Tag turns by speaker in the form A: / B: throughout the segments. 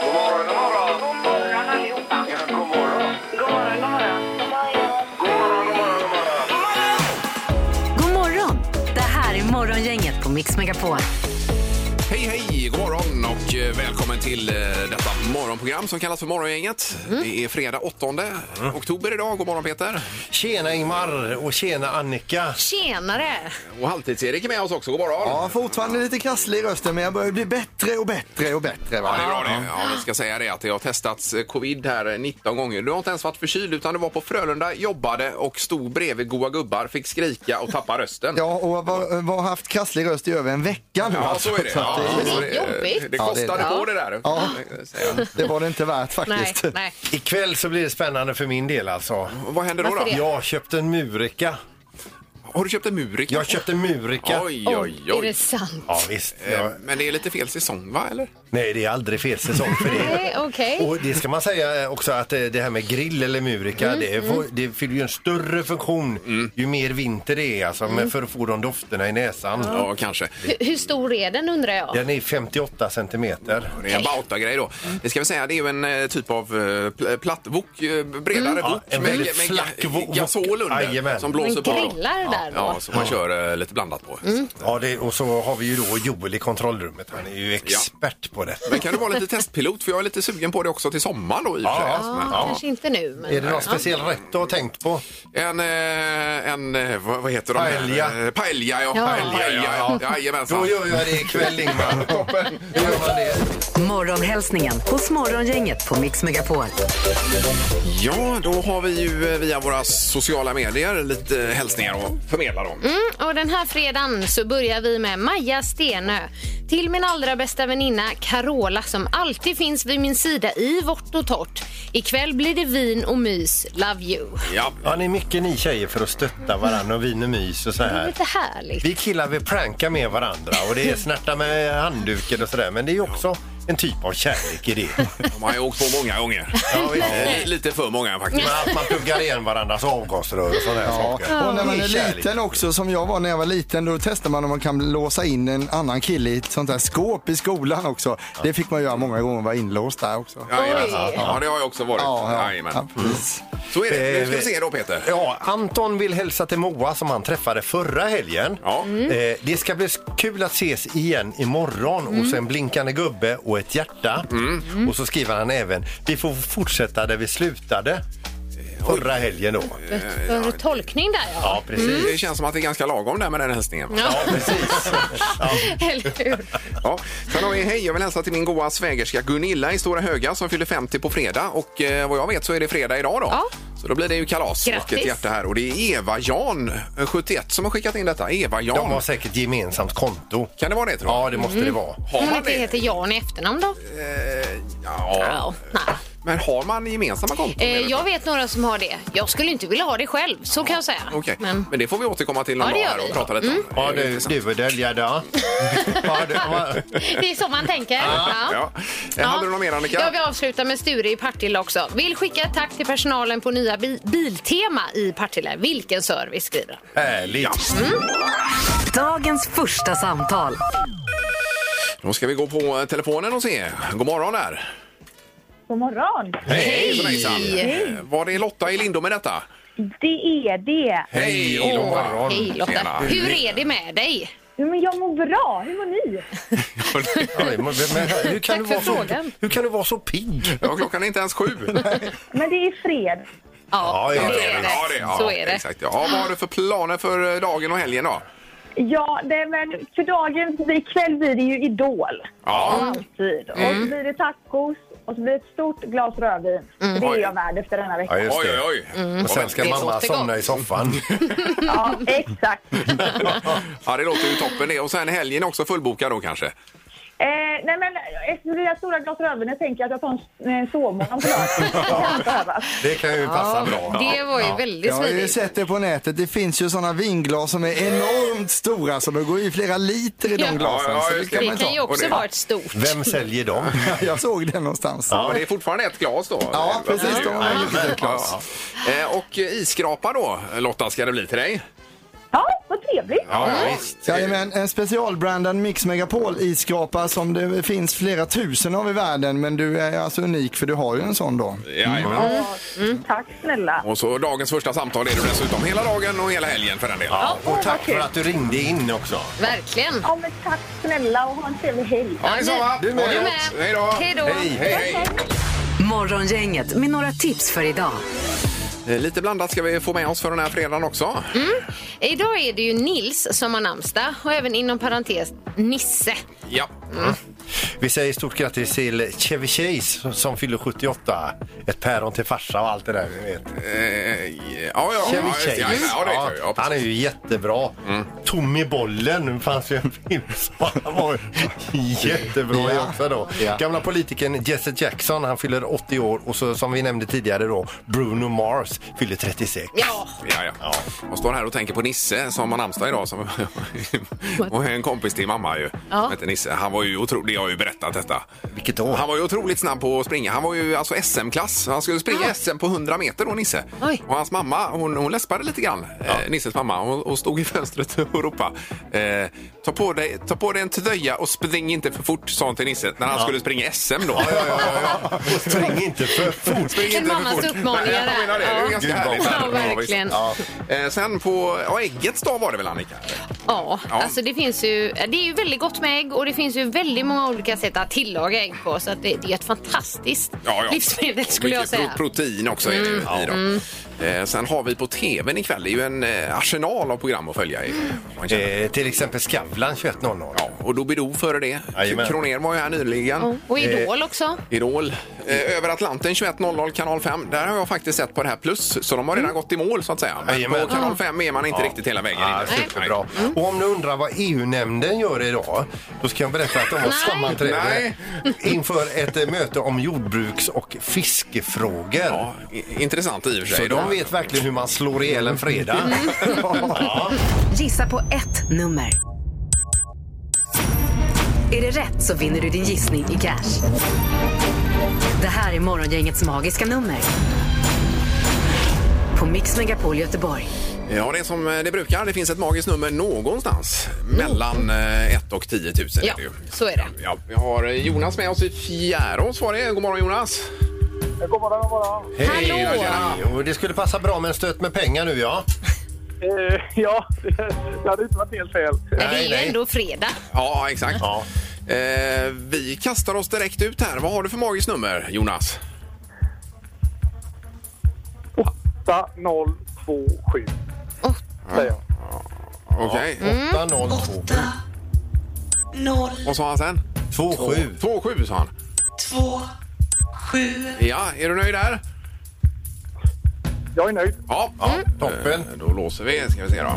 A: God morgon, god morgon.
B: God morgon allihopa.
A: Ja, god morgon.
B: God morgon, god morgon.
A: God morgon, god morgon, god morgon.
C: God morgon! Det här är Morgongänget på Mix Megapol.
D: Hej, hej! God morgon och eh, välkommen till eh, detta morgonprogram som kallas för Morgongänget. Det är fredag 8 oktober idag. God morgon Peter!
E: Tjena Ingmar och tjena Annika.
C: Tjenare!
D: Och Halvtids-Erik är med oss också. God morgon!
F: Ja, fortfarande lite krasslig i rösten, men jag börjar bli bättre och bättre och bättre. Va?
D: Ja, det är bra det. Ja, vi ska säga det att det har testats eh, covid här eh, 19 gånger. Du har inte ens varit förkyld utan du var på Frölunda, jobbade och stod bredvid goa gubbar, fick skrika och tappa rösten.
F: Ja, och jag har haft krasslig röst i över en vecka nu.
D: Ja,
F: alltså.
D: så är det.
F: att
D: Ja,
F: det,
D: så det,
C: jobbigt.
D: det
F: Ja, det är
D: kostade
F: det.
D: på det där.
F: Ja.
D: Eh, säger jag.
F: det var det inte värt
C: Nej,
F: faktiskt.
C: nej.
E: Ikväll så blir det spännande för min del alltså.
D: Vad händer då? då?
C: Varför det?
E: Jag köpte en murika.
D: Har du köpt en murik?
E: Jag köpte en murika.
D: Oj, oj,
C: Oj, är det
D: oj.
C: sant?
E: Ja visst.
D: Eh,
E: Jag,
D: Men det är lite fel säsong, va? Eller?
E: nej, det är aldrig fel säsong för det.
C: Nej, Okej.
E: Och det ska man säga eh, också att eh, det här med grill eller murika,
D: Mm,
E: det, är, det fyller ju en större funktion ju mer vinter det är alltså, men för att få de dofterna i näsan.
D: Mm. Ja, kanske.
C: Hur, hur stor är den undrar jag?
E: Den är 58 centimeter.
D: Det är en bautagrej då.
E: Mm.
D: Det ska vi säga, det är ju en eh, typ av eh, pl- plattvok, eh, bredare
E: Mm. Ja,
D: vok
E: en
D: med,
E: väldigt
D: med
E: flack
D: ga-
E: vok-
D: gasol under
E: Jajamän.
D: som
C: Den
D: blåser på. då.
C: grillar där då? Mm.
D: Ja, som man kör eh, lite blandat på.
E: Ja, det, och så har vi ju då Joel i kontrollrummet. Han är ju expert på det.
D: Men kan du vara lite testpilot? För jag är lite sugen på det också till sommaren då i och för sig.
E: Ja.
D: alltså. Men,
C: Ja,
D: ja.
C: Kanske inte nu, men...
E: Är det någon speciell rätt du har tänkt på?
D: En, eh, en eh, vad, vad heter de? här?
E: Paella.
D: Eh, Paella, ja.
C: Ja.
D: Paella, ja. Jajamensan.
E: Då gör jag det ikväll Ingmar. Toppen. Då gör man det.
C: Morgonhälsningen hos Morgongänget på Mix Megapol.
D: Ja, då har vi ju eh, via våra sociala medier lite eh, hälsningar att förmedla dem.
C: Mm.
B: Och den här fredagen så börjar vi med Maja Stenö. Till min allra bästa väninna Carola som alltid finns vid min sida i vått och torrt. Ikväll blir det vin och mys. Love you.
D: Ja.
E: Ja, ni är mycket ni tjejer för att stötta varandra och vin och mys och så
B: Det är
E: här.
B: lite härligt.
E: Vi killar vi prankar med varandra och det är snärta med handduken och sådär. Men det är ju också en typ av kärlek i det.
D: De har ju åkt på många gånger.
E: Ja, visst.
D: Eh, Lite för många faktiskt.
E: Men att man pluggar igen varandras avgasrör och sådana här
F: Ja.
E: saker.
F: Och när man
E: Det
F: är
E: kärlek.
F: liten också, som jag var när jag var liten, då testar man om man kan låsa in en annan kille i ett sånt där skåp i skolan också. Det fick man göra många gånger, var inlåst där också.
D: Jajamensan. Ja, det har jag också varit.
F: Ja, ja,
D: Jajamän.
F: ja, precis.
D: Så är det. Nu ska vi
E: Eh,
D: se då, Peter.
E: Ja, Anton vill hälsa till Moa som han träffade förra helgen.
D: Ja.
E: Eh, det ska bli kul att ses igen imorgon och så en blinkande gubbe och ett hjärta.
D: Mm.
E: Och så skriver han även, vi får fortsätta där vi slutade eh, förra helgen då. Mm.
B: För tolkning där ja.
E: Ja, precis.
D: Det känns som att det är ganska lagom där med den hälsningen. Ja.
E: Ja, precis.
B: Eller hur?
D: Sen har vi, hej, jag vill hälsa till min goa svägerska Gunilla i Stora Höga som fyller 50 på fredag och eh, vad jag vet så är det fredag idag då.
B: Ja.
D: Så då blir det ju kalas och
B: Grattis.
D: ett hjärta här. Och det är Eva-Jan, 71, som har skickat in detta.
E: De har
D: Eva-Jan.
E: säkert gemensamt konto.
D: Kan det vara det tror jag?
E: Ja, det måste det vara.
D: Har
B: Om hon
D: man
B: inte
D: det?
B: heter Jan i efternamn då?
D: Ja.
B: Ja. Nej.
D: Men har man gemensamma konton?
B: Eh,
D: menar du?
B: jag vet några som har det. Jag skulle inte vilja ha det själv, så kan jag säga.
D: Okej, men...
B: Men
D: det får vi återkomma till någon
B: Ja, det
D: dag
B: gör
D: här och
B: vi. Mm.
D: prata lite om.
E: Ja,
D: Det är
E: du,
D: intressant.
E: du döljer det. Ja, du, va-
B: det är så man tänker. Ja.
D: Ja. Eh, Hade du någon mer Annika?
B: Jag vill avsluta med Sture i Partille också. Vill skicka ett tack till personalen på nya bi- Biltema i Partille. Vilken service skriver han.
D: Eh,
E: härligt.
C: Dagens första samtal.
D: Då ska vi gå på eh, telefonen och se. God morgon där.
G: God morgon!
D: Hejsan, hejsan. Eh, Var det Lotta i Lindom med detta?
G: Det är det.
D: Hej
E: God
D: Lotta.
E: morgon.
B: Hej
D: Tjena.
B: Lotta. Hur är det med dig?
G: Men jag mår bra. Hur mår ni?
E: Ja, det- men, men, hur, kan
B: Tack
E: du
B: för
E: vara så,
B: frågan.
E: hur kan du vara så pigg?
D: Ja, klockan är inte ens sju.
G: Men det är fred.
E: Ja, ja,
B: det är det.
D: Ja, det, ja,
B: Så är det.
D: Exakt, ja. Vad har du för planer för eh, dagen och helgen då?
G: Ja, det är väl för dagen, ikväll blir det ju Idol.
D: Ja,
G: Alltid. Och
D: Mm.
G: så blir det tacos och så blir det ett stort glas rödvin. För Det är
D: Mm. Oj.
G: jag värd efter denna
E: Ja,
G: veckan.
E: just
D: oj,
E: det.
D: oj, oj.
E: Och sen ska
B: Det
E: mamma
B: låter
E: somna
B: gott.
E: i soffan.
G: Ja, exakt.
D: Ja, det låter ju toppen det. Och sen helgen också fullbokad då kanske?
G: Eh, nej, men efter det där stora glas rödvin jag tänker jag att jag tar en eh, sovmorgon på lördag. Det kan behövas.
E: Det kan ju passa bra.
B: Det var ju väldigt
F: Jag har ju
B: smidigt.
F: sett det på nätet. Det finns ju sådana vinglas som är enormt stora, så det går i flera liter i
B: Ja.
F: de glasen.
D: Ja, ja,
F: så det
D: just
F: kan
D: det.
B: Det
F: man ta.
B: kan ju
D: Och
B: också
D: det-
B: vara ett stort.
E: Vem säljer dem?
F: Jag såg det någonstans.
D: Ja, men det är fortfarande ett glas då?
F: Ja, precis.
D: Ja,
F: Då har man
D: ja,
F: gjort ett glas.
D: ja. Eh, Och eh, isskrapa då, Lotta, ska det bli till dig?
G: Ja, vad trevligt.
E: Ja, visst.
F: Jajamän, en specialbrandad Mix Megapol isskrapa som det finns flera tusen av i världen. Men du är alltså unik för du har ju en sån då.
D: Jajamän. Mm.
G: Tack snälla.
D: Och så dagens första samtal är du dessutom hela dagen och hela helgen för den delen.
E: Ja, och tack
G: okej.
E: för att du ringde in också.
B: Verkligen.
G: Ja, men tack snälla och ha en trevlig helg.
D: Ja, detsamma.
E: Du med.
D: Ha det
B: Du med.
D: gott. Hej då.
B: Hej då.
E: Hej,
D: Hej, hej.
C: Morgongänget med några tips för idag.
D: Eh, Lite blandat ska vi få med oss för den här fredagen också.
B: Idag är det ju Nils som har namnsdag och även inom parentes Nisse.
D: Ja.
E: Vi säger stort grattis till Chevy Chase som fyller 78. Ett päron till farsa och allt det där. Vi vet.
D: Eh, Ja, ja.
E: Chevy
D: Ja, just det.
E: Chase.
D: Ja, ja, det vet jag ju. Ja,
E: han är ju jättebra. Tommy Bollen, nu fanns ju en film som han var jättebra i också då.
F: Ja.
E: Gamla politikern Jesse Jackson, han fyller 80 år och så som vi nämnde tidigare då, Bruno Mars fyller 36.
B: Ja,
D: Ja, ja. Jag står här och tänker på Nisse som har namnsdag idag. Som, och en kompis till mamma ju. Som heter Nisse. Han var ju otrolig. Jag har ju berättat detta.
E: Vilket år.
D: Han var ju otroligt snabb på att springa. Han var ju alltså SM-klass. Han skulle springa
E: Ah.
D: SM på 100 meter då, Nisse.
B: Oj.
D: Och hans mamma, hon, hon läspade lite grann, eh, Nisses mamma. Hon, hon stod i fönstret och ropade. Eh, ta, på dig, ta på dig en tröja och spring inte för fort, sa hon till Nisse. När han skulle springa SM då.
E: Ja, ja, ja, ja. Spring inte för fort.
D: Spring
B: En
D: inte för
B: mammas
D: fort.
B: uppmaningar
D: Nej, jag menar det. Det är
B: där.
D: ju ganska
E: Ja.
D: härligt.
E: Ja,
D: visst.
B: verkligen.
D: Eh, Sen på ja, äggets dag var det väl Annika?
B: ja.
D: Ja.
B: Alltså det finns ju, det är ju väldigt gott med ägg och det finns ju väldigt många olika sätt att tillaga ägg på så att det, det är ett fantastiskt livsmedel
D: Och
B: skulle jag
D: mycket
B: säga. Mm.
D: pro- protein också är det ju i dem. Eh, Sen har vi på tvn ikväll, det är ju en eh, arsenal av program att följa. i- man känner.
E: Eh, till exempel Skavlan 21.00.
D: Ja, och Doobidoo före det.
E: Jajamän.
D: Kroner var ju här nyligen.
B: Ja. Och Idol också.
D: Idol. Eh, Över Atlanten 21.00 kanal 5. Där har jag faktiskt sett på det här plus, så de har redan
B: Mm.
D: gått i mål så att säga. Men
E: Jajamän.
D: på kanal 5 är man inte
E: Ja.
D: riktigt hela vägen
E: Ja,
D: inne.
E: superbra. Och om ni undrar vad EU-nämnden gör idag, då ska jag berätta att de har sammanträde inför ett eh, möte om jordbruks och fiskefrågor.
D: Ja, i- intressant i och för
E: Så
D: sig.
E: de vet verkligen hur man slår ihjäl en fredag. Ja.
C: Gissa på ett nummer. Är det rätt så vinner du din gissning i cash. Det här är Morgongängets magiska nummer. På Mix Megapol Göteborg.
D: Ja, det är som eh, det brukar. Det finns ett magiskt nummer någonstans. Mellan 1 och 10 000 är
B: Ja,
D: det ju.
B: så är det.
D: Ja, vi har eh, Jonas med oss i Fjärås var det. God morgon Jonas!
A: God morgon, god morgon.
B: Hallå.
D: Tjena, tjena.
E: Jo, det skulle passa bra med en stöt med pengar nu ja.
A: Eh, ja, det hade inte varit helt fel.
B: Men det är
E: Nej,
B: ju
E: nej.
B: ändå fredag.
D: Ja, exakt.
E: Ja.
D: Eh, vi kastar oss direkt ut här. Vad har du för magiskt nummer, Jonas?
A: 8027
B: Åh.
A: säger jag.
D: Okej.
B: Mm.
E: 802
D: Och så har han sen?
E: 27.
D: 2,7 sa han. 2,7. Ja, är du nöjd där?
A: Jag är nöjd.
D: Ja.
E: Toppen.
D: Eh, Då låser vi. Ska vi se då.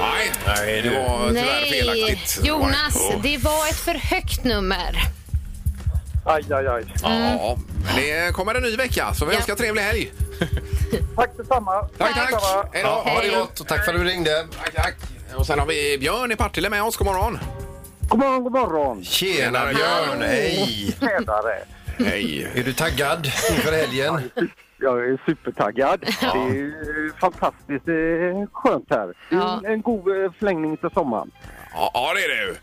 D: Nej,
E: Nej,
D: det
E: du.
D: var tyvärr
B: Nej,
D: felaktigt.
B: Jonas,
D: Ja.
B: det var ett för högt nummer.
A: Aj, aj, aj.
D: Ja, men det kommer en ny vecka, så vi
B: Ja.
D: önskar trevlig helg.
A: Tack detsamma.
D: Tack, tack!
A: Detsamma.
D: Hej då!
E: Ja, ha det
B: Hej.
E: gott och tack för att du ringde.
D: Tack, tack! Och sen har vi Björn i Partille med oss. God morgon!
A: God morgon, god morgon.
E: Tjena Björn, hej!
A: Tjänare.
D: Hej!
E: Är du taggad inför helgen?
A: Jag är supertaggad. Det är ju fantastiskt eh, skönt här. Det är En, en god eh, förlängning till sommaren.
D: Ja, ja, det är det ju.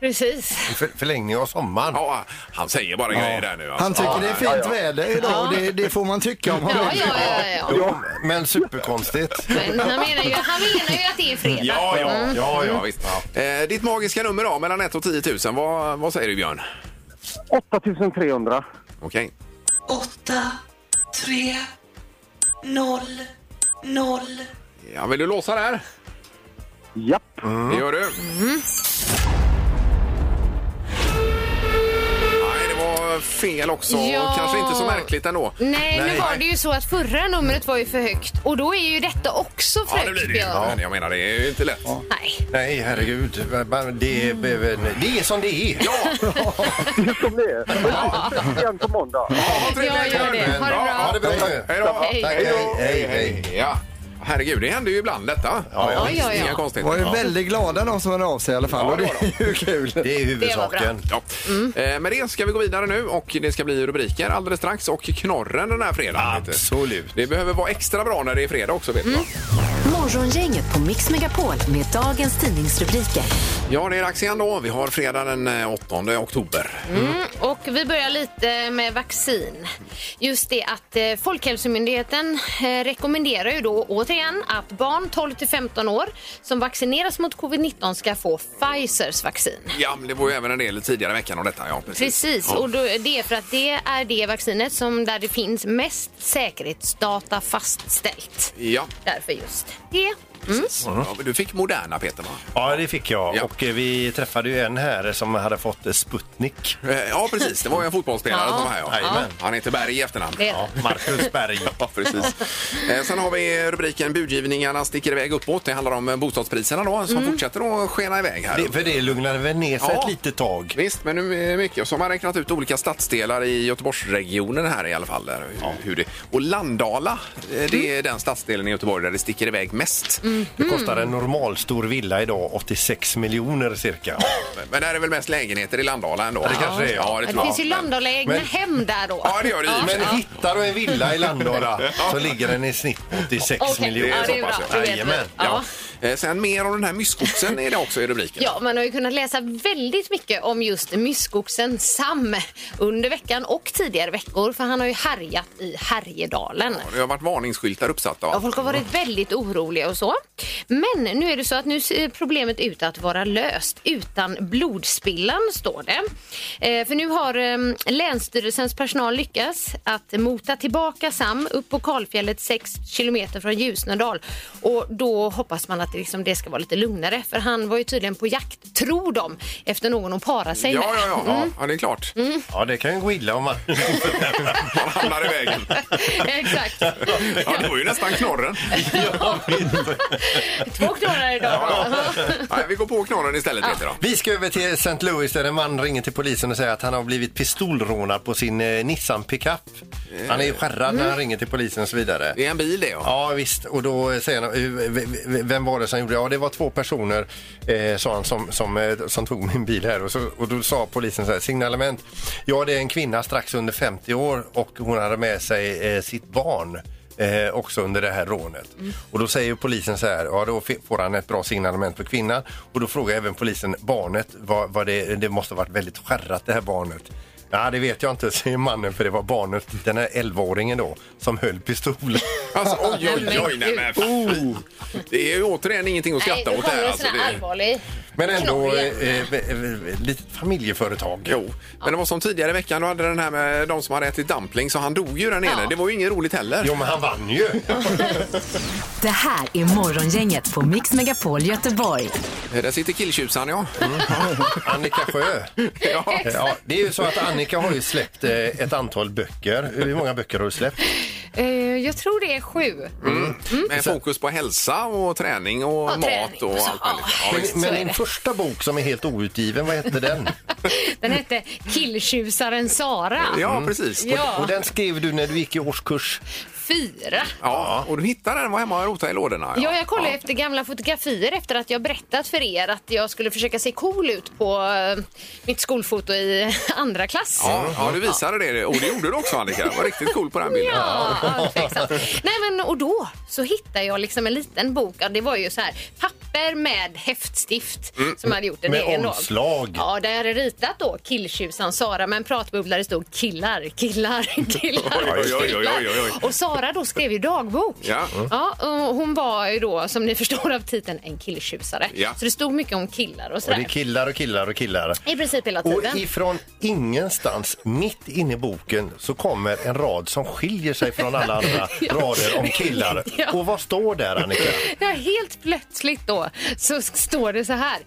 B: Precis.
E: För, förlängning av sommaren.
D: Ja, han säger bara grejer där nu. Alltså.
F: Han tycker det är fint
A: ja.
F: väder idag och det, det får man tycka om man
B: Ja,
F: vill.
B: ja, ja. ja.
E: Jo, men superkonstigt.
B: Men han, menar ju, han menar ju att det är fredag.
D: Ja, ja, ja, ja visst. Eh, ditt magiska nummer då, mellan 1 och 10 000. Vad, vad säger du Björn?
A: 8300.
D: Okej.
H: 8, 3, 0, 0.
D: Ja, vill du låsa där?
A: Japp.
D: Det gör du. Nej, det var fel också.
B: Ja.
D: Kanske inte så märkligt ändå.
B: Nej,
E: Nej.
B: nu var det ju så att förra numret var ju för högt och då är ju detta också för
D: Ja,
B: högt,
D: det blir det ju.
B: Björn.
D: Men jag menar, det är ju inte lätt.
B: Nej.
E: Nej, herregud. Det är, det är som det är.
D: Ja,
A: Det är som det är. Vi ses igen på måndag.
D: ja, vad trevligt.
B: Ja, gör det. Ha det bra.
E: Ja, ha det bra.
D: Hej då.
E: Tack, hej, hej, hej.
D: Ja. Herregud, det händer ju ibland detta.
E: Ja, ja,
B: Oj, visst. oj, oj.
D: Inga konstigheter.
F: Var ju
D: Ja.
F: väldigt glada de som hörde av sig i alla fall
D: Ja,
F: och det
D: det
F: är ju kul.
E: Det är huvudsaken.
D: Ja.
B: Mm.
D: Eh, Med det ska vi gå vidare nu och det ska bli rubriker alldeles strax och knorren den här fredagen. Peter.
E: Absolut.
D: Det behöver vara extra bra när det är fredag också vet du
B: Mm.
D: va?
C: Morgongänget på Mix Megapol med dagens tidningsrubriker.
D: Ja, det är dags igen då. Vi har fredag den eh, 8 oktober.
B: Mm. Och vi börjar lite med vaccin. Just det att eh, Folkhälsomyndigheten eh, rekommenderar ju då återigen att barn 12 till 15 år som vaccineras mot covid-19 ska få Pfizers vaccin.
D: Ja, men det var ju även en del tidigare i veckan om detta. Ja, precis.
B: Precis,
D: Ja.
B: och då, det är för att det är det vaccinet som där det finns mest säkerhetsdata fastställt.
D: Ja,
B: Därför just det.
D: precis.
E: Mm.
D: Ja, men du fick Moderna, Peter, va?
E: Ja, det fick jag.
D: Ja.
E: Och eh, vi träffade ju en här som hade fått Sputnik.
D: Eh, Ja, precis. Det var ju en fotbollsspelare
B: Ja.
D: som var här. Ja.
E: Jajamän.
D: Han heter Berg i efternamn.
B: Det är
E: Ja, Marcus Berg.
D: Ja, precis. Eh, Sen har vi rubriken budgivningarna sticker iväg uppåt. Det handlar om eh, bostadspriserna då, som
B: Mm.
D: fortsätter att skena iväg här.
E: Det, för det lugnade väl ner sig
D: Ja.
E: ett litet tag.
D: Visst, men nu är det mycket. Och så har man räknat ut olika stadsdelar i Göteborgsregionen här i alla fall. Där, hur- hur det, och Landala, eh, det är den stadsdelen i Göteborg där det sticker iväg mest.
E: Det kostar en normalstor villa idag 86 miljoner cirka.
D: Men där är väl mest lägenheter i Landala ändå?
E: det kanske det är, ja.
D: Ja, det
B: Det
D: tror
B: finns ju
D: jag.
B: landala egna
E: men-
B: hem där då.
D: Ja, det gör det i och för sig.
E: Men hittar du en villa i Landala så ligger den i snitt 86
B: Okej,
E: miljoner.
B: ja, det är bra.
D: så pass,
B: Då vet vi.
E: Jajamän.
B: Ja.
D: Ja. Eh, Sen mer om den här myskoxen är det också i rubriken.
B: Ja, man har ju kunnat läsa väldigt mycket om just myskoxen Sam under veckan och tidigare veckor för han har ju härjat i Härjedalen.
D: Det har varit varningsskyltar uppsatta.
B: Ja, folk har varit väldigt oroliga och så. Men nu är det så att nu ser problemet ut att vara löst utan blodspillan, står det. Eh, för nu har eh, Länsstyrelsens personal lyckats att mota tillbaka Sam upp på kalfjället 6 kilometer från Ljusnedal. Och då hoppas man att det, liksom, det ska vara lite lugnare. För han var ju tydligen på jakt, tror de, efter någon att para sig
D: ja,
B: med.
D: ja, ja. ja. ja det är klart.
E: Ja, det kan ju gå illa om man...
D: Man hamnar i vägen.
B: Exakt.
D: Ja, det var ju nästan knorren.
B: Två knorrar idag.
D: Nej, vi går på knorren istället, Peter. Då.
E: Vi ska över till St. Louis där en man ringer till polisen och säger att han har blivit pistolrånad på sin eh, Nissan pickup. Han är ju skärrad när han ringer till polisen och så vidare.
D: Det är en bil det, ja.
E: Ja visst, och då säger han, "V- v- v- vem var det som gjorde det? Ja det var två personer, eh, sa han, som, som, eh, som tog min bil här. Och, så, och då sa polisen så här, signalement. Ja det är en kvinna strax under 50 år och hon hade med sig eh, sitt barn. Eh, också under det här rånet. Och då säger polisen så här, ja då fi- får han ett bra signalement på kvinnan. Och då frågar även polisen barnet, vad, vad det, det måste ha varit väldigt skärrat det här barnet. Nej, det vet jag inte, säger mannen, för det var barnet, den här 11-åringen då, som höll pistolen.
D: Alltså, oj, oj, oj. Nej, men, fy. det är ju återigen ingenting att
B: Oh. Nej,
D: skratta
B: nu
D: åt. Här,
B: kommer en
D: alltså,
B: sån här
D: det...
B: allvarlig
E: Men ändå
B: knorr igen.
E: eh, eh, eh, litet familjeföretag.
D: Jo, men det var som tidigare i veckan. Då hade den här med de som hade ätit dumpling, så han dog ju där nere.
B: Ja.
D: Det var ju inget roligt heller.
E: Jo, men han vann ju.
C: Det här är Morgongänget på Mix Megapol Göteborg.
D: Eh, Där sitter killtjusan, ja.
B: Mhm.
E: Annika Sjö.
D: ja.
E: Ja, det är ju så att Annika har ju släppt eh, ett antal böcker. Hur många böcker har du släppt?
B: Eh, jag tror det är sju.
D: Med fokus på hälsa och träning och
B: Ja,
D: mat
B: träning.
D: och allt
B: Ja.
D: möjligt. Ja, visst.
E: Men,
B: så
E: men
B: är
E: din
B: det.
E: första bok som är helt outgiven, vad hette den?
B: Den hette Killtjusaren Sara.
D: ja, precis.
E: Och
B: Ja,
E: den skrev du när du gick i årskurs.
B: fyra.
D: Ja, och du hittade den, var hemma och rotade i lådorna.
B: Ja, jag kollade efter gamla fotografier efter att jag berättat för er att jag skulle försöka se cool ut på eh, mitt skolfoto i andra klass.
D: Ja, ja, du visade det och det gjorde du också Annika. Det var riktigt cool på den bilden.
B: Ja, ja, tveksamt. Nej, men, och då så hittade jag liksom en liten bok. Ja, det var ju så här papper med häftstift
D: Mm.
B: som jag hade gjort en
E: Med
B: egen då.
E: omslag.
B: Ja, där jag hade ritat då killtjusan Sara med en pratbubbla. Det stod killar, killar, killar,
D: Oj, oj, oj,
B: killar.
D: oj, oj, oj.
B: Och Sara då skrev ju dagbok.
D: Ja.
B: Ja, och hon var ju då, som ni förstår av titeln, en killtjusare.
D: Ja.
B: Så det stod mycket om killar och
E: Och det är
B: sådär.
E: killar och killar och killar.
B: I princip hela
E: Och
B: tiden.
E: ifrån ingenstans, mitt inne i boken, så kommer en rad som skiljer sig från alla andra rader om killar.
B: Ja.
E: Och vad står där, Annika?
B: Ja, helt plötsligt då så s- står det så här.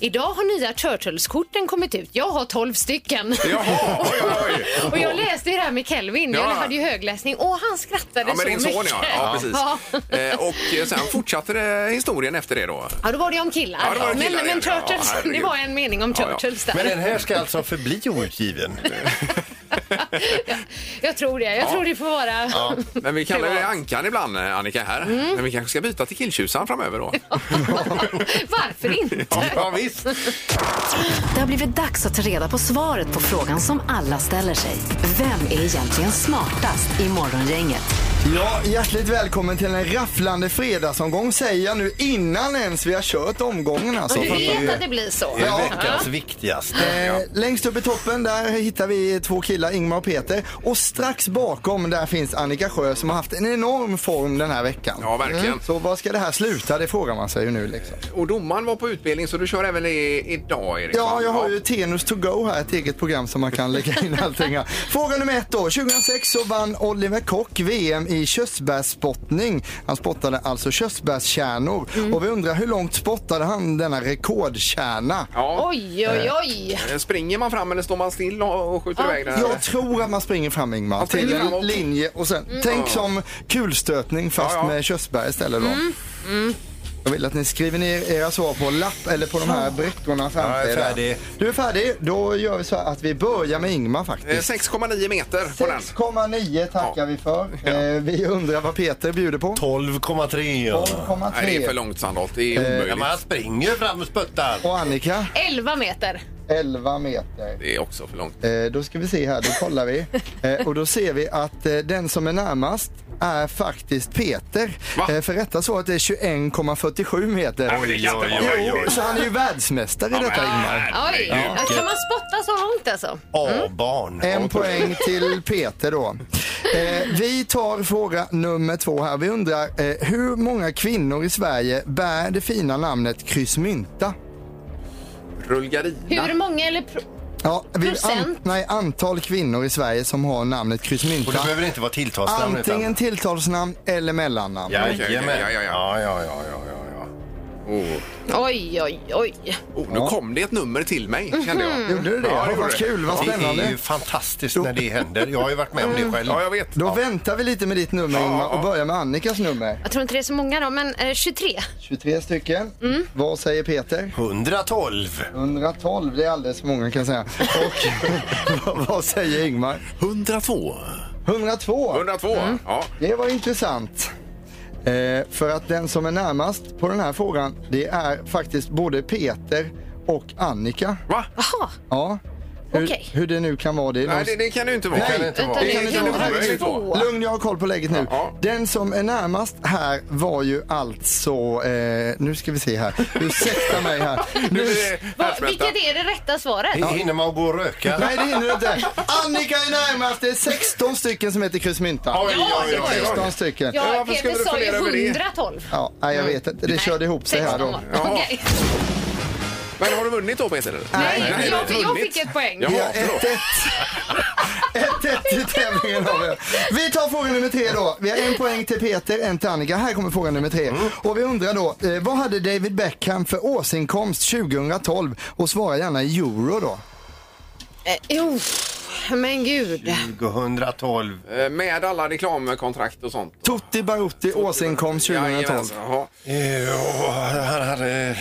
B: Idag har nya Turtles-korten kommit ut. Jag har 12 stycken.
D: Jaha, oj, oj, oj.
B: Och jag läste ju det här med Kelvin. Jag
D: Ja.
B: hade ju högläsning och han skrattade
D: Ja,
B: så
D: med din son
B: mycket.
D: ja. ja precis.
B: Ja.
D: Eh, och eh, sen fortsatte det historien efter det då.
B: Ja, då var det om killar.
D: Ja, då var det killar,
B: men, men
D: ja. Ja,
B: Turtles,
D: herregud.
B: det var en mening om
D: Ja, eh, ja.
B: Turtles
E: Men
B: där.
E: den här ska alltså förbli outgiven.
B: jag tror det. Jag tror det får vara...
D: Men vi kallar det
B: Privat. Mm.
D: Ankan ibland, eh, Annika här. Men vi kanske ska byta till killtjusan framöver då.
B: Varför inte?
E: Ja, visst.
C: Det har blivit dags att ta reda på svaret på frågan som alla ställer sig. Vem är egentligen smartast i Morgongänget?
F: Ja, hjärtligt välkommen till en rafflande fredagsomgång säger jag nu innan ens vi har kört omgången alltså.
B: Du
F: Fattar
B: vet att det blir så.
E: Det är veckans viktigaste.
F: Eh, Längst upp i toppen där hittar vi två killar, Ingmar och Peter. Och strax bakom där finns Annika Sjö som har haft en enorm form den här veckan. Mm.
D: Ja, verkligen.
F: Så var ska det här sluta? Det frågar man sig ju nu liksom.
D: Och domaren var på utbildning så du kör även i, idag Erik?
F: Ja,
D: va?
F: jag har ju Tenus to go här, ett eget program som man kan lägga in allting här. Fråga nummer ett då. 2006 så vann Oliver Kock VM i körsbärsspottning. Han spottade alltså körsbärskärnor.
D: Mm.
F: Och vi undrar hur långt spottade han denna rekordkärna?
D: Ja. Eh,
B: Oj, oj, oj.
D: Springer man fram eller står man still och och skjuter iväg den? här?
F: Jag tror att man springer fram Ingmar
D: Man springer
F: till en
D: framåt.
F: linje och sen tänk som kulstötning fast
D: Ja, Mm. ja.
F: med körsbär istället då. Jag vill att ni skriver ner era svar på lapp eller på de här bräckorna framför
E: jag är
F: er där.
E: färdig.
F: Du är färdig? Då gör vi så här att vi börjar med Ingmar
D: Eh,
F: faktiskt.
D: 6,9 meter på den.
F: 6,9 tackar
D: Ja.
F: vi för. Eh, vi undrar vad Peter bjuder på.
E: 12,3. ja.
D: Nej, det är för
F: 12,3.
D: långt Sandholt. Det är
F: Eh,
E: Ja,
D: omöjligt.
E: men han springer ju fram och sputtar.
F: Och Annika
B: 11 meter.
F: 11 meter.
D: Det är också för långt.
F: Eh, då ska vi se här, då kollar vi. Eh, och då ser vi att eh, den som är närmast är faktiskt Peter.
D: Va?
F: Eh, för rätta svaret är 21,47 meter.
D: men det kan inte vara
F: Jo, så han är ju världsmästare i detta Ingmar.
B: Oj. Ja, kan man spotta så långt alltså?
E: A-barn.
F: En poäng till Peter då. Eh, vi tar fråga nummer två här. Vi undrar eh, hur många kvinnor i Sverige bär det fina namnet kryssmynta?
D: Rullgardina.
B: Hur många eller... pro-
F: Ja, vi,
B: Procent?
F: nej, antal kvinnor i Sverige som har namnet
E: Och
F: kryssmynta.
E: det behöver inte vara tilltalsnamn. utan-
F: Antingen tilltalsnamn eller mellannamn.
E: Jajamän.
D: Ja,
E: Ja, ja,
D: ja, ja.
E: ja. ja, ja, ja, ja.
D: Oh.
B: Oj, oj, oj.
D: Oh, nu kom det ett nummer till mig kände jag.
F: Mm. Gjorde du det?
D: Ja,
F: Ja,
D: det gjorde
F: vad
D: det.
F: kul, vad
E: Det är
F: spännande.
E: ju fantastiskt när det händer. Jag har ju varit med om det själv.
D: Mm. Ja, jag vet.
F: Då väntar vi lite med ditt nummer Ingmar och börjar med Annikas nummer.
B: Jag tror inte det är så många då, men eh, 23.
F: 23 stycken. Vad säger Peter?
E: 112.
F: 112, det är alldeles för många kan jag säga. Och vad- vad säger Ingmar?
D: 102.
F: 102,
D: 102? Ja.
F: det var intressant. Eh, för att den som är närmast på den här frågan det är faktiskt både Peter och Annika.
D: Va?
B: Jaha,
F: Ja. Hur,
B: Okej.
F: hur det nu kan vara det. är
D: Nej,
F: någon-
D: det, det kan det ju inte vara.
F: Nej,
E: inte
B: vänta
E: vara.
D: Det
B: nu.
D: kan det
B: då
D: vara.
B: hade vi två.
F: Lugn, jag har koll på läget nu.
D: Ja.
F: Den som är närmast här var ju alltså... Eh, nu ska vi se här. Ursäkta mig här.
D: Nu
F: Nu,
D: är det
B: Va,
D: härdsmälta.
B: vilket är det rätta svaret?
E: H- Hinner man gå och röka?
F: nej, det hinner du inte. Annika är närmast. Det är 16 stycken som heter kryssmynta.
E: Oj, oj, oj.
F: 16 stycken.
D: Ja,
B: Ja,
D: varför skulle
B: Peter
D: du
B: sa ju
D: fundera över det?
B: 112.
F: Ja, nej, jag vet inte. Det körde ihop sig här då.
B: 16 var.
D: Jaha.
B: Okej.
D: Men har du vunnit då Peter?
B: Nej,
D: du har
B: jag,
D: inte
B: jag
D: vunnit.
B: fick ett poäng.
F: Vi
D: Ja,
F: har 1-1.
D: förlåt.
F: 1-1 i tävlingen har vi. Vi tar fråga nummer tre då. Vi har en poäng till Peter, en till Annika. Här kommer fråga nummer tre. Och vi undrar då, eh, vad hade David Beckham för årsinkomst 2012? Och svara gärna i euro då.
B: Eh, uff, men gud.
E: 112.
D: Eh, Med alla reklamkontrakt och sånt.
F: Tutti Barutti årsinkomst 2012.
D: Jajamensan, jaha.
E: Eh, han hade...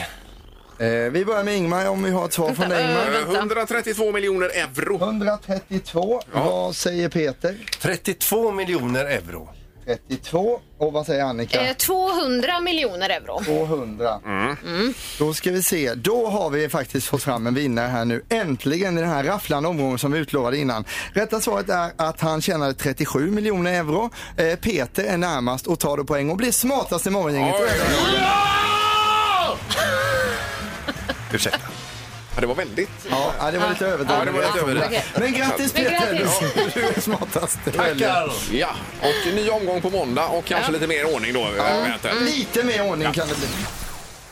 F: Eh, vi börjar med Ingmar om vi har ett svar från dig Ingmar.
D: Eh, 132 miljoner euro.
F: 132. Vad säger Peter?
E: 32 miljoner euro.
F: 32. Och vad säger Annika?
B: Eh, 200 miljoner euro.
F: 200. Då ska vi se. Då har vi faktiskt fått fram en vinnare här nu. Äntligen i den här rafflande omgången som vi utlovade innan. Rätta svaret är att han tjänade 37 miljoner euro. Eh, Peter är närmast och tar då poäng och blir smartast i morgongänget.
D: Oj, oj, oj.
E: Ursäkta.
D: Ja, det var väldigt...
F: Ja, ja, det var lite
D: Ja, det var
F: överdrivet.
D: lite överdrivet.
F: Men grattis
B: Men
F: Peter!
B: grattis.
F: Du- Du är smartast. i helgen.
E: Tackar!
D: Ja, och ny omgång på måndag och kanske lite mer ordning då. eh, eventuellt.
F: Lite mer ordning kan det bli.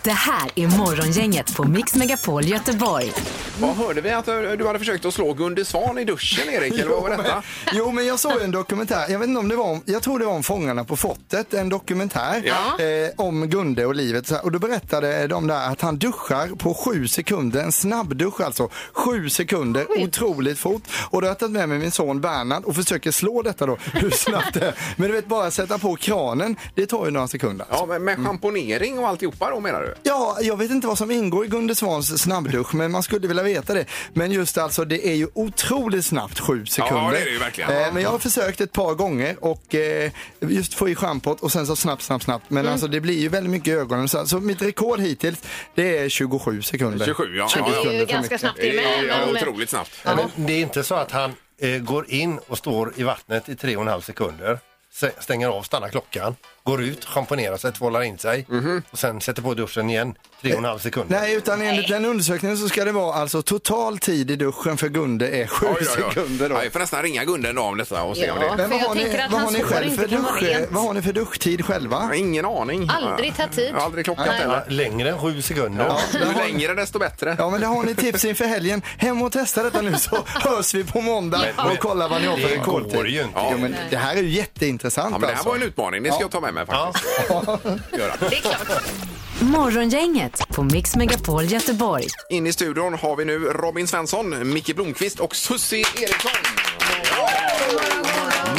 C: Det här är Morgongänget på Mix Megapol Göteborg.
D: Vad hörde vi att eh, du hade försökt att slå Gunde Svan i duschen, Erik? Eller vad var detta?
F: Jo, men jag såg ju en dokumentär. Jag vet inte om det var om, jag tror det var om Fångarna på fortet. En dokumentär
D: Ja.
F: eh, om Gunde och livet. Så här, Och då berättade de där att han duschar på sju sekunder. En snabbdusch alltså. Sju sekunder. Otroligt fort. Och då har jag tagit med mig min son Bernhard och försöker slå detta då. Hur snabbt det är. Men du vet, bara sätta på kranen. Det tar ju några sekunder.
D: Ja, men med schamponering och alltihopa då menar du? du?
F: Ja, jag vet inte vad som ingår i Gunde Svans snabbdusch, men man skulle vilja veta det. Men just alltså, det är ju otroligt snabbt, sju sekunder.
D: det är det ju verkligen.
F: Eh, men jag har försökt ett par gånger och eh, just få i schampot och sen så snabbt, snabbt, snabbt.
D: Mm.
F: Men alltså det blir ju väldigt mycket i ögonen. Så, så mitt rekord hittills, det är 27 sekunder.
D: 27, ja.
B: Det är ju
F: sekunder för
B: ganska
F: mycket.
B: snabbt det
D: Ja,
B: med.
D: ja,
B: men-
D: otroligt snabbt.
E: Nej, men det är inte så att han eh, går in och står i vattnet i tre och en halv sekunder, se- stänger av, stannar klockan, går ut, schamponerar sig, tvålar in sig
I: Mhm.
E: och sen sätter på duschen igen, tre och en halv sekunder.
F: Nej, utan enligt den undersökningen så ska det vara alltså total tid i duschen för Gunde är sju
D: Oj, oj, oj.
F: sekunder då.
D: Ja, jag får nästan ringa Gunde en dag om detta och se om
B: Ja.
D: det...
F: Men
B: För
F: vad
B: jag
F: har, ni,
B: tänker att
F: vad, har
B: hans
F: ni
B: hår
F: själv
B: inte
F: för
B: kan vara
F: dusch,
B: rent.
F: vad har ni för duschtid själva?
D: Jag har ingen aning.
B: Aldrig ta tid.
D: Jag har Aldrig klockat
B: Nej.
D: heller.
E: Längre än sju sekunder.
D: Ju längre desto bättre.
F: Ja, men det har ni tips inför helgen. Hem och testa detta nu så hörs vi på måndag
B: Ja.
F: och kollar vad ni har för
E: Det
F: rekordtid.
E: går ju inte.
F: Jo, men det här är ju jätteintressant
D: Ja, men det här
F: alltså.
D: var en utmaning. Det ska jag ta med mig faktiskt. Göra.
B: Det är klart.
C: Morgongänget på Mix Megapol Göteborg.
D: In i studion har vi nu Robin Svensson, Micke Blomqvist och Susie Eriksson.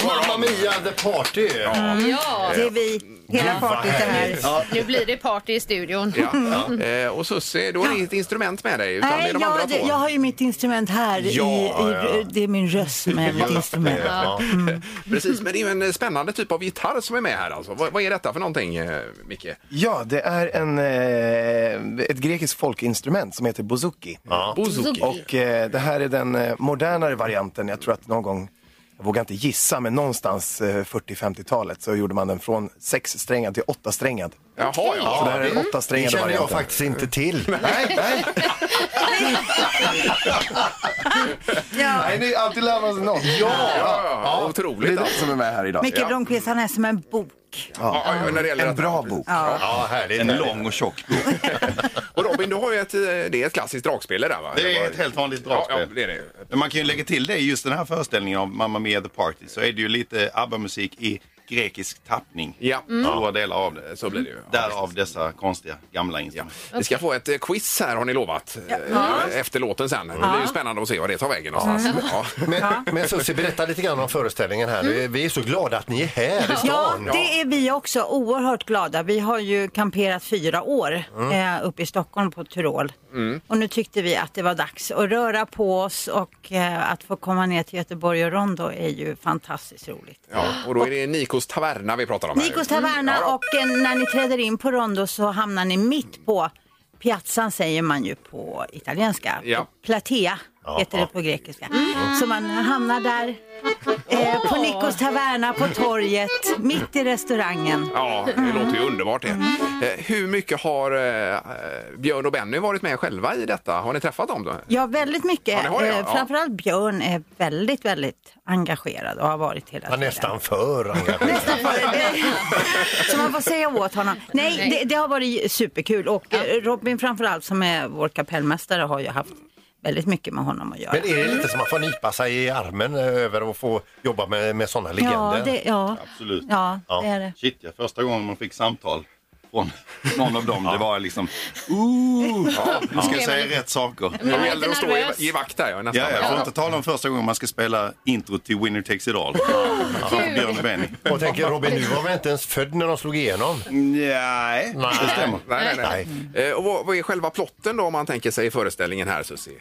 E: Mamma mia, the party! Mm.
B: Ja.
I: Det är vi, hela partyt är här.
B: Nu blir det party i studion.
D: Ja. Eh, och Susie, du har inget instrument med dig, utan det
I: Nej,
D: är de
I: jag,
D: andra
I: det-
D: två.
I: jag har ju mitt instrument här. i,
E: Ja,
I: i,
E: ja.
I: Det är Mm. min röst med mitt instrument.
E: Ja.
D: Precis, men det är ju en spännande typ av gitarr som är med här. Alltså. Vad, vad är detta för någonting, eh, Micke?
J: Ja, det är en, eh, ett grekiskt folkinstrument som heter bouzouki.
D: Bouzouki.
J: Och eh, det här är den eh, modernare varianten. Jag tror att någon gång, jag vågar inte gissa, men någonstans eh, 40-50-talet så gjorde man den från sexsträngad till åttasträngad.
D: Jaha, ja.
J: Så det här är den
E: Det
J: åttasträngade
E: känner jag
J: varianten.
E: faktiskt inte till.
J: Nej, nej. nej, det är alltid lär
F: Alltså,
J: man sig något.
D: Ja,
J: Ja!
D: ja, ja.
J: Det är
D: Otroligt.
J: det
D: Alltså.
J: som är med här idag.
I: Micke Blomqvist, han är som en bok.
D: Ja, ja, när det gäller
J: En
D: detta.
J: bra bok.
E: Ja, härligt.
K: En lång och tjock bok.
D: Och Robin, du har ju ett, eh, det är ett klassiskt dragspel det där va?
K: Det är ett helt vanligt dragspel.
D: Ja, ja, det är det.
K: Men man kan ju lägga till det i just den här föreställningen av Mamma Mia The Party så är det ju lite ABBA-musik i grekisk tappning.
D: Ja.
K: Stora delar av det.
D: Så blir det ju. Ja,
K: Därav dessa konstiga gamla instrument.
D: Vi ska få ett eh, quiz här har ni lovat. eh, Efter låten sen. Det blir ju spännande att se vad det tar vägen någonstans. Ja.
E: Men, men Susie, berätta lite grann om föreställningen här. Vi- Vi är så glada att ni är här i
I: Mm. Ja,
E: stan.
I: det är vi också oerhört glada. Vi har ju kamperat fyra år eh, uppe i Stockholm på Tyrol. Och nu tyckte vi att det var dags att röra på oss och eh, att få komma ner till Göteborg och Rondo är ju fantastiskt roligt.
D: Ja, och då är det Nikos taverna vi pratar om här.
I: Nikos taverna
D: Ja,
I: och eh, när ni träder in på Rondo så hamnar ni mitt på Piazzan säger man ju på italienska.
D: Ja.
I: Platea heter det på grekiska. Så man hamnar där eh, på Nikos taverna på torget, mitt i restaurangen.
D: Ja, det låter ju underbart det. Eh, Hur mycket har eh, Björn och Benny varit med själva i detta? Har ni träffat dem? Då?
I: Ja, väldigt
D: Ja,
I: mycket.
D: det har jag,
I: Eh,
D: ja.
I: Framförallt Björn är väldigt, väldigt engagerad och har varit hela
E: Han är
I: tiden.
E: nästan för engagerad.
I: Så man får säga åt honom. Nej, det, det har varit superkul och ja. Robin framförallt som är vår kapellmästare har ju haft väldigt mycket med honom att göra.
E: Men är det lite som att få nypa sig i armen eh, över att få jobba med, med sådana legender?
I: ja, det, ja.
K: Absolut.
I: ja,
E: Ja.
I: det är det.
K: Shit, ja, första gången man fick samtal från någon av dem, det var liksom Ooh, nu ska jag säga rätt saker.
D: Det
B: var
D: gäller
B: lite
D: att stå i,
B: nervös.
D: i vakt där ja, nästan.
K: Ja, jag får inte tala om första gången man ska spela intro till Winner takes it all. Framför Björn och Benny.
E: Och tänker Robin, du var väl inte ens född när de slog igenom?
K: Nej,
E: Nej.
K: det stämmer.
D: Nej, nej, nej. Eh, Och vad, vad är själva plotten då om man tänker sig föreställningen här Susie?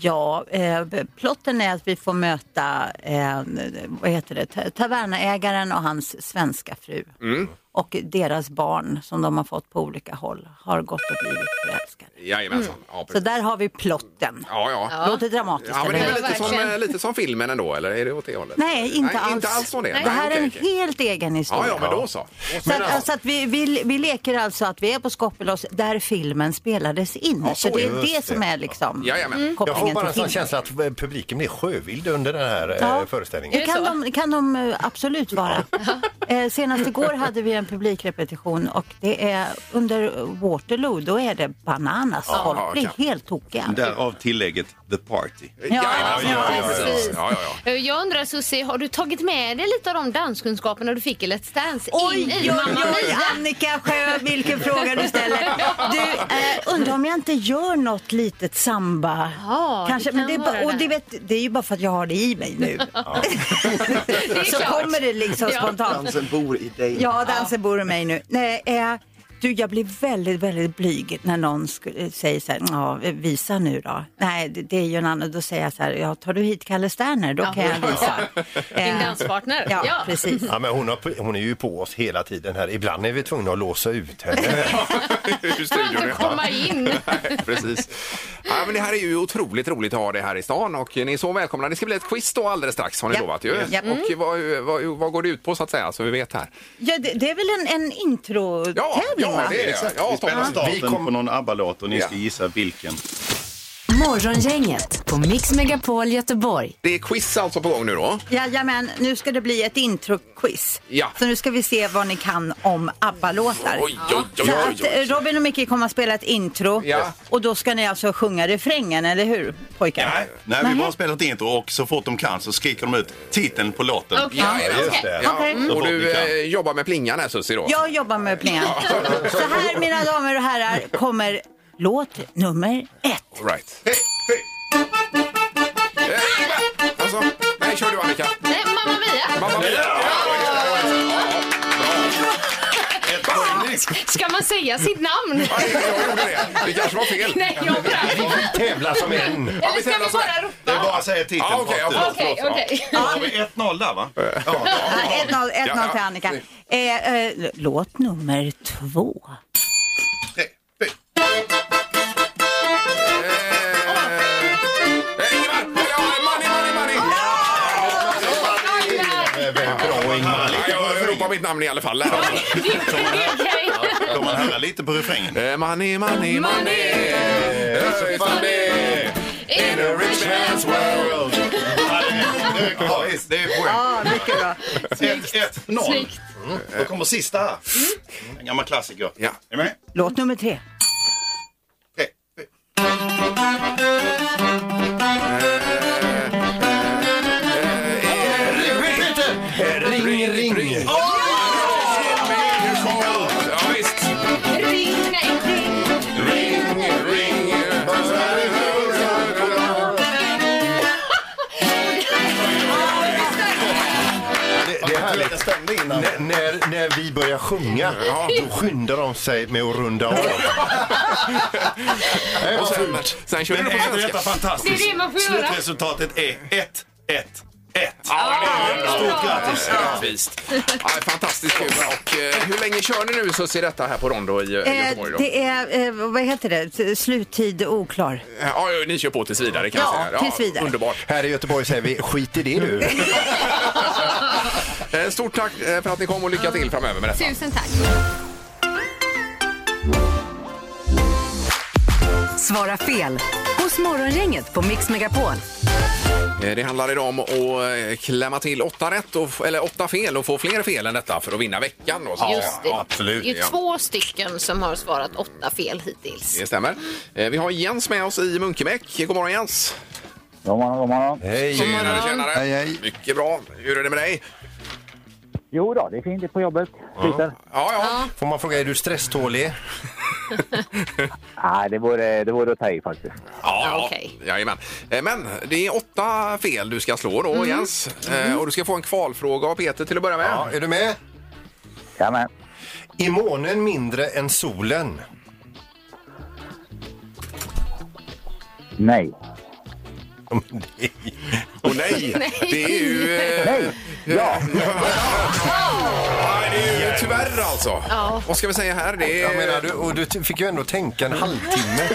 I: Ja, eh, plotten är att vi får möta eh, vad heter det? Ta- tavernaägaren och hans svenska fru.
D: Mm.
I: Och deras barn som de har fått på olika håll har gått och blivit förälskade.
D: Jajamensan. Ja,
I: Mm. Så
D: precis.
I: där har vi plotten.
D: ja, ja. ja.
I: Låter dramatiskt.
D: men det
I: eller
D: är
I: hur?
D: väl lite som,
B: verkligen.
D: eh, lite som filmen ändå, eller är det åt det hållet?
I: Nej, inte alls.
D: Inte alls som det.
I: Det här
D: okej,
I: är en
D: okej.
I: helt egen historia.
D: Ja, ja, men då så.
I: Så att, alltså att vi, vi, vi leker alltså att vi är på Skopelos där filmen spelades in.
D: Ja,
I: så
D: så
I: det
D: är
I: är
E: det.
I: det som är liksom
D: Jajamän.
E: Jag får
I: kopplingen
E: bara en
I: till
E: sån
I: filmen.
E: känsla att eh, publiken blir sjövild under den här eh,
I: Ja.
E: föreställningen.
I: Det kan
B: så?
I: de, kan de eh, absolut vara. Eh, senast igår hade vi en publikrepetition och det är under Waterloo, då är det bananas. Folk blir
D: okej.
I: helt tokiga.
K: Därav tillägget The Party.
D: Jajamensan.
I: ja,
B: precis.
D: Ja, ja, ja.
B: Eh, Jag undrar Susie, har du tagit med dig lite av de danskunskaperna du fick i Let's Dance
I: Oj,
B: in i
I: oj,
B: Mamma
I: oj,
B: Mia?
I: Annika Sjö, vilken fråga du ställer. Du, eh, undrar om jag inte gör något litet samba.
B: Ja, det
I: Kanske,
B: kan
I: men det är,
B: vara
I: bara, och
B: det.
I: det, vet, det är ju bara för att jag har det i mig nu.
B: Det är
I: Så
B: klart.
I: kommer det liksom
B: Ja.
I: spontant.
J: Dansen bor i dig.
I: Ja, dansen bor i mig nu. Nej, eh, Du, jag blir väldigt, väldigt blyg när någon skulle, säger så här, ja, visa nu då. Nej, det, det är ju en annan, då säger jag så här, ja, tar du hit Kalle Sterner, då kan jag visa.
B: Din danspartner.
I: Ja, precis.
E: Ja, men hon, har, hon är ju på oss hela tiden här. Ibland är vi tvungna att låsa ut henne.
D: Hur studion är.
B: komma in.
D: Nej, Precis. Ja, men det här är ju otroligt roligt att ha det här i stan och ni är så välkomna. Det ska bli ett quiz då alldeles strax har ni
I: Ja.
D: lovat ju.
I: Ja.
D: Och vad, vad, vad går det ut på så att säga så vi vet här?
I: Ja, det, det är väl en, en intro-tävling?
D: Ja, ja
I: va?
D: det är det. Ja,
K: Vi spelar
D: toppen.
K: starten på någon ABBA-låt och ni ska gissa vilken.
C: Morgongänget på Mix Megapol Göteborg.
D: Det är quiz alltså på gång nu då.
I: Jajamän, nu ska det bli ett intro-quiz.
D: Ja.
I: Så nu ska vi se vad ni kan om ABBA-låtar.
D: Oj, oj, oj,
I: Så
D: oj,
I: att
D: oj.
I: eh, Robin och Micke kommer att spela ett intro
D: Ja.
I: och då ska ni alltså sjunga refrängen, eller hur pojkar?
K: Nej, nej, vi bara spelat intro och så fort de kan så skriker de ut titeln på låten.
B: Okej.
D: Ja, just det. Ja.
I: Okej.
K: Mm.
D: Och du eh, jobbar med plingan här Susie då?
I: Jag jobbar med plingan. Så här mina damer och herrar kommer låt nummer ett.
D: All Right. Hej, hej. Eh, Alltså, nej, kör du Annika.
B: Nej, Mamma Mia.
D: Mamma mia.
K: Ett poäng.
B: Ska man säga sitt namn?
D: Ja, jag gjorde det. Det kanske var fel.
B: Nej, jag brann.
E: Tävla som en.
D: Ja,
B: Eller
D: vi
B: ska
D: tävlar
B: vi
D: så
B: bara
D: här.
K: Det
B: ropa?
K: är bara att säga titeln.
D: Ja, okej,
K: rakt
D: ja,
K: ut.
B: Okej,
D: förlåt,
B: okej.
K: Då har vi 1-0 där va? Ja.
I: Ja, 1-0
D: Ja,
I: 1-0
D: ja.
I: till Annika. Eh, eh, låt nummer två.
D: Eh, eh, Ingemar! Ja, money, money, money!
E: Bra Ingmar.
D: Ja, Jag ropar mitt namn i alla fall.
B: Det är okej.
K: Då man höra lite på refrängen.
D: Eh, Money, money, money! It's money in a rich man's world
K: Ja, visst, det är poäng.
I: Ja, mycket bra.
K: 1-0.
B: Snyggt.
K: Då kommer sista här.
I: Mm.
K: En gammal klassiker.
D: Ja.
K: Är ni med?
I: Låt nummer tre.
K: Tre.
E: Ring, ring.
D: Ja, visst.
B: Ring, nej, ring.
D: Ring, ring
E: Det, det är härligt.
K: Jag stämde innan.
E: N- när, när vi börjar sjunga, då skyndar de sig med att runda av. Nej,
D: Och
E: vad
D: sen,
E: fult.
D: sen körde
K: Men
D: du på
K: är inte detta
D: svenska.
K: fantastiskt?
B: Det är det man får göra.
K: Slutresultatet är 1-1-1.
D: Ja, det är
K: Stort grattis!
D: Rättvist. Ja, fantastiskt kul. Och, eh, hur länge kör ni nu så ser detta här på Rondo i, i
I: Eh,
D: Göteborg? Då?
I: det är, eh, vad heter det, S- sluttid oklar.
D: Ja, ja, ni kör på tills vidare kan
I: Ja,
D: jag säga.
I: tills vidare.
D: Underbart.
E: Här i Göteborg säger vi skit i det du.
D: Eh, Stort tack eh, för att ni kom och lycka till framöver med detta.
B: Tusen tack.
C: Svara fel hos Morgongänget på Mix Megapol.
D: Eh, Det handlar idag om att eh, klämma till åtta rätt, och, f- eller åtta fel och få fler fel än detta för att vinna veckan. Då, så att säga.
B: Just det.
D: absolut,
B: Det är ju
D: ja.
B: två stycken som har svarat åtta fel hittills.
D: Det stämmer. Eh, Vi har Jens med oss i Munkebäck. God morgon Jens!
A: God morgon, god morgon.
E: Hej.
D: Tjenare, tjenare!
F: Hej, hej.
D: Mycket bra. Hur är det med dig?
A: Jo då, det är fint det är på jobbet. Sliter.
D: Ja, ja.
E: Får man fråga, är du stresstålig?
A: Nej, det vore, det vore att ta i faktiskt.
D: ja,
B: Okej.
D: Jajamän. Eh, Men det är åtta fel du ska slå då, Jens. Eh, Och du ska få en kvalfråga av Peter till att börja med.
E: Ja, är du med?
A: Jajamän.
E: Är månen mindre än solen?
A: Nej.
D: Och nej, det är ju... eh,
A: Ja.
D: Nej, det är ju tyvärr alltså.
B: Ja.
D: Vad ska vi säga här? Det är...
E: Jag menar, du, och du t- fick ju ändå tänka en halvtimme.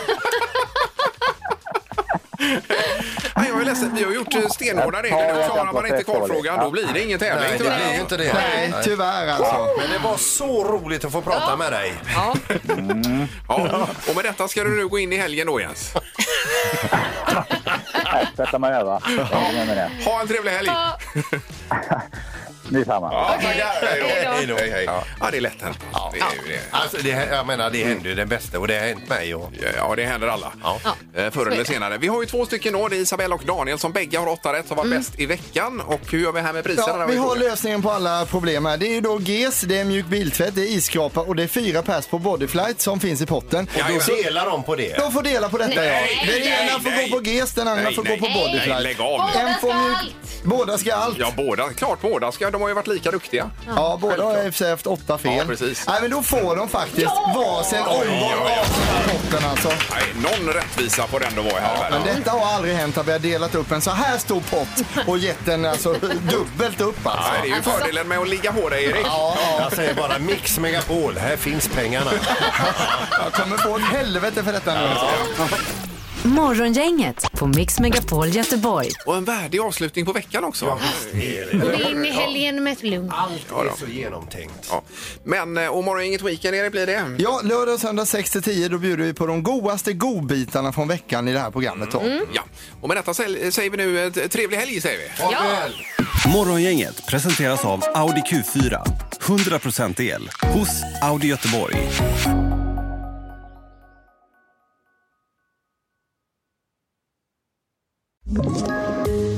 D: Nej, jag är ledsen. Vi har gjort eh, stenhårda regler. Nu klarar man inte kvalfrågan, då blir det ingen tävling
E: Nej, det
D: tyvärr.
E: blir ju inte det.
F: Nej, tyvärr alltså.
E: Men det var så roligt att få prata med dig.
B: Ja.
D: Ja. Och med detta ska du nu gå in i helgen då, Jens.
A: Sätta mig över. Jag menar det.
D: Ha en trevlig helg!
B: Ja.
A: Detsamma.
D: Ja, tackar.
B: Hej då.
D: Hej då. Hej, hej. Ja, det är lätt hänt. Det är ju det.
E: Alltså, det, jag menar, det hände ju det bästa och det har hänt mig. Och...
D: Ja, det händer alla. Eh, Förr eller senare. Vi har ju två stycken då. Det är Isabella och Daniel som bägge har åtta rätt som
B: Mm.
D: var bäst i veckan. Och hur gör vi här med priserna?
F: Ja,
D: då,
F: vi
D: Victoria?
F: har lösningen på alla problem här. Det är ju då GES, det är mjuk biltvätt, det är isskrapa och det är fyra pers på Bodyflight som finns i potten.
E: Och då delar de på det.
F: De får dela på detta ja.
D: Nej,
F: Den
D: nej,
F: ena får
D: nej.
F: gå på GES, den andra
D: Nej,
F: får
D: nej,
F: gå på
D: nej,
F: Bodyflight.
D: lägg av nu.
B: Båda
F: En får
B: ska
F: mjuk...
B: allt.
F: Båda ska allt.
D: Ja, båda. Klart båda ska. De har ju varit lika duktiga.
F: Ja, båda har i och för sig haft åtta fel.
D: Ja, precis.
F: Nej, men då får de faktiskt varsin omgång av potten alltså.
D: Nej, någon rättvisa får det ändå vara här.
F: Men detta har aldrig hänt att vi har delat upp en så här stor pott och gett den alltså dubbelt upp alltså.
D: Nej, det är ju fördelen med att ligga på dig, Erik.
F: Ja, ja.
E: Jag säger bara Mix Megapol, här finns pengarna.
F: Jag kommer få ett helvete för detta nu alltså.
C: Morgongänget på Mix Megapol Göteborg.
D: Och en värdig avslutning på veckan också. va?
B: Gå in i helgen med ett lugn.
E: Det är så genomtänkt.
D: Ja. Men eh, och morgon, inget weekend, Erik, blir det?
F: Ja, lördag och söndag 6-10 då bjuder vi på de godaste godbitarna från veckan i det här programmet. Då.
D: Ja. Och med detta säl- säger vi nu eh, trevlig helg, säger vi.
B: Ja.
L: Morgongänget presenteras av Audi Q4. 100% el hos Audi Göteborg.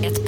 C: Ett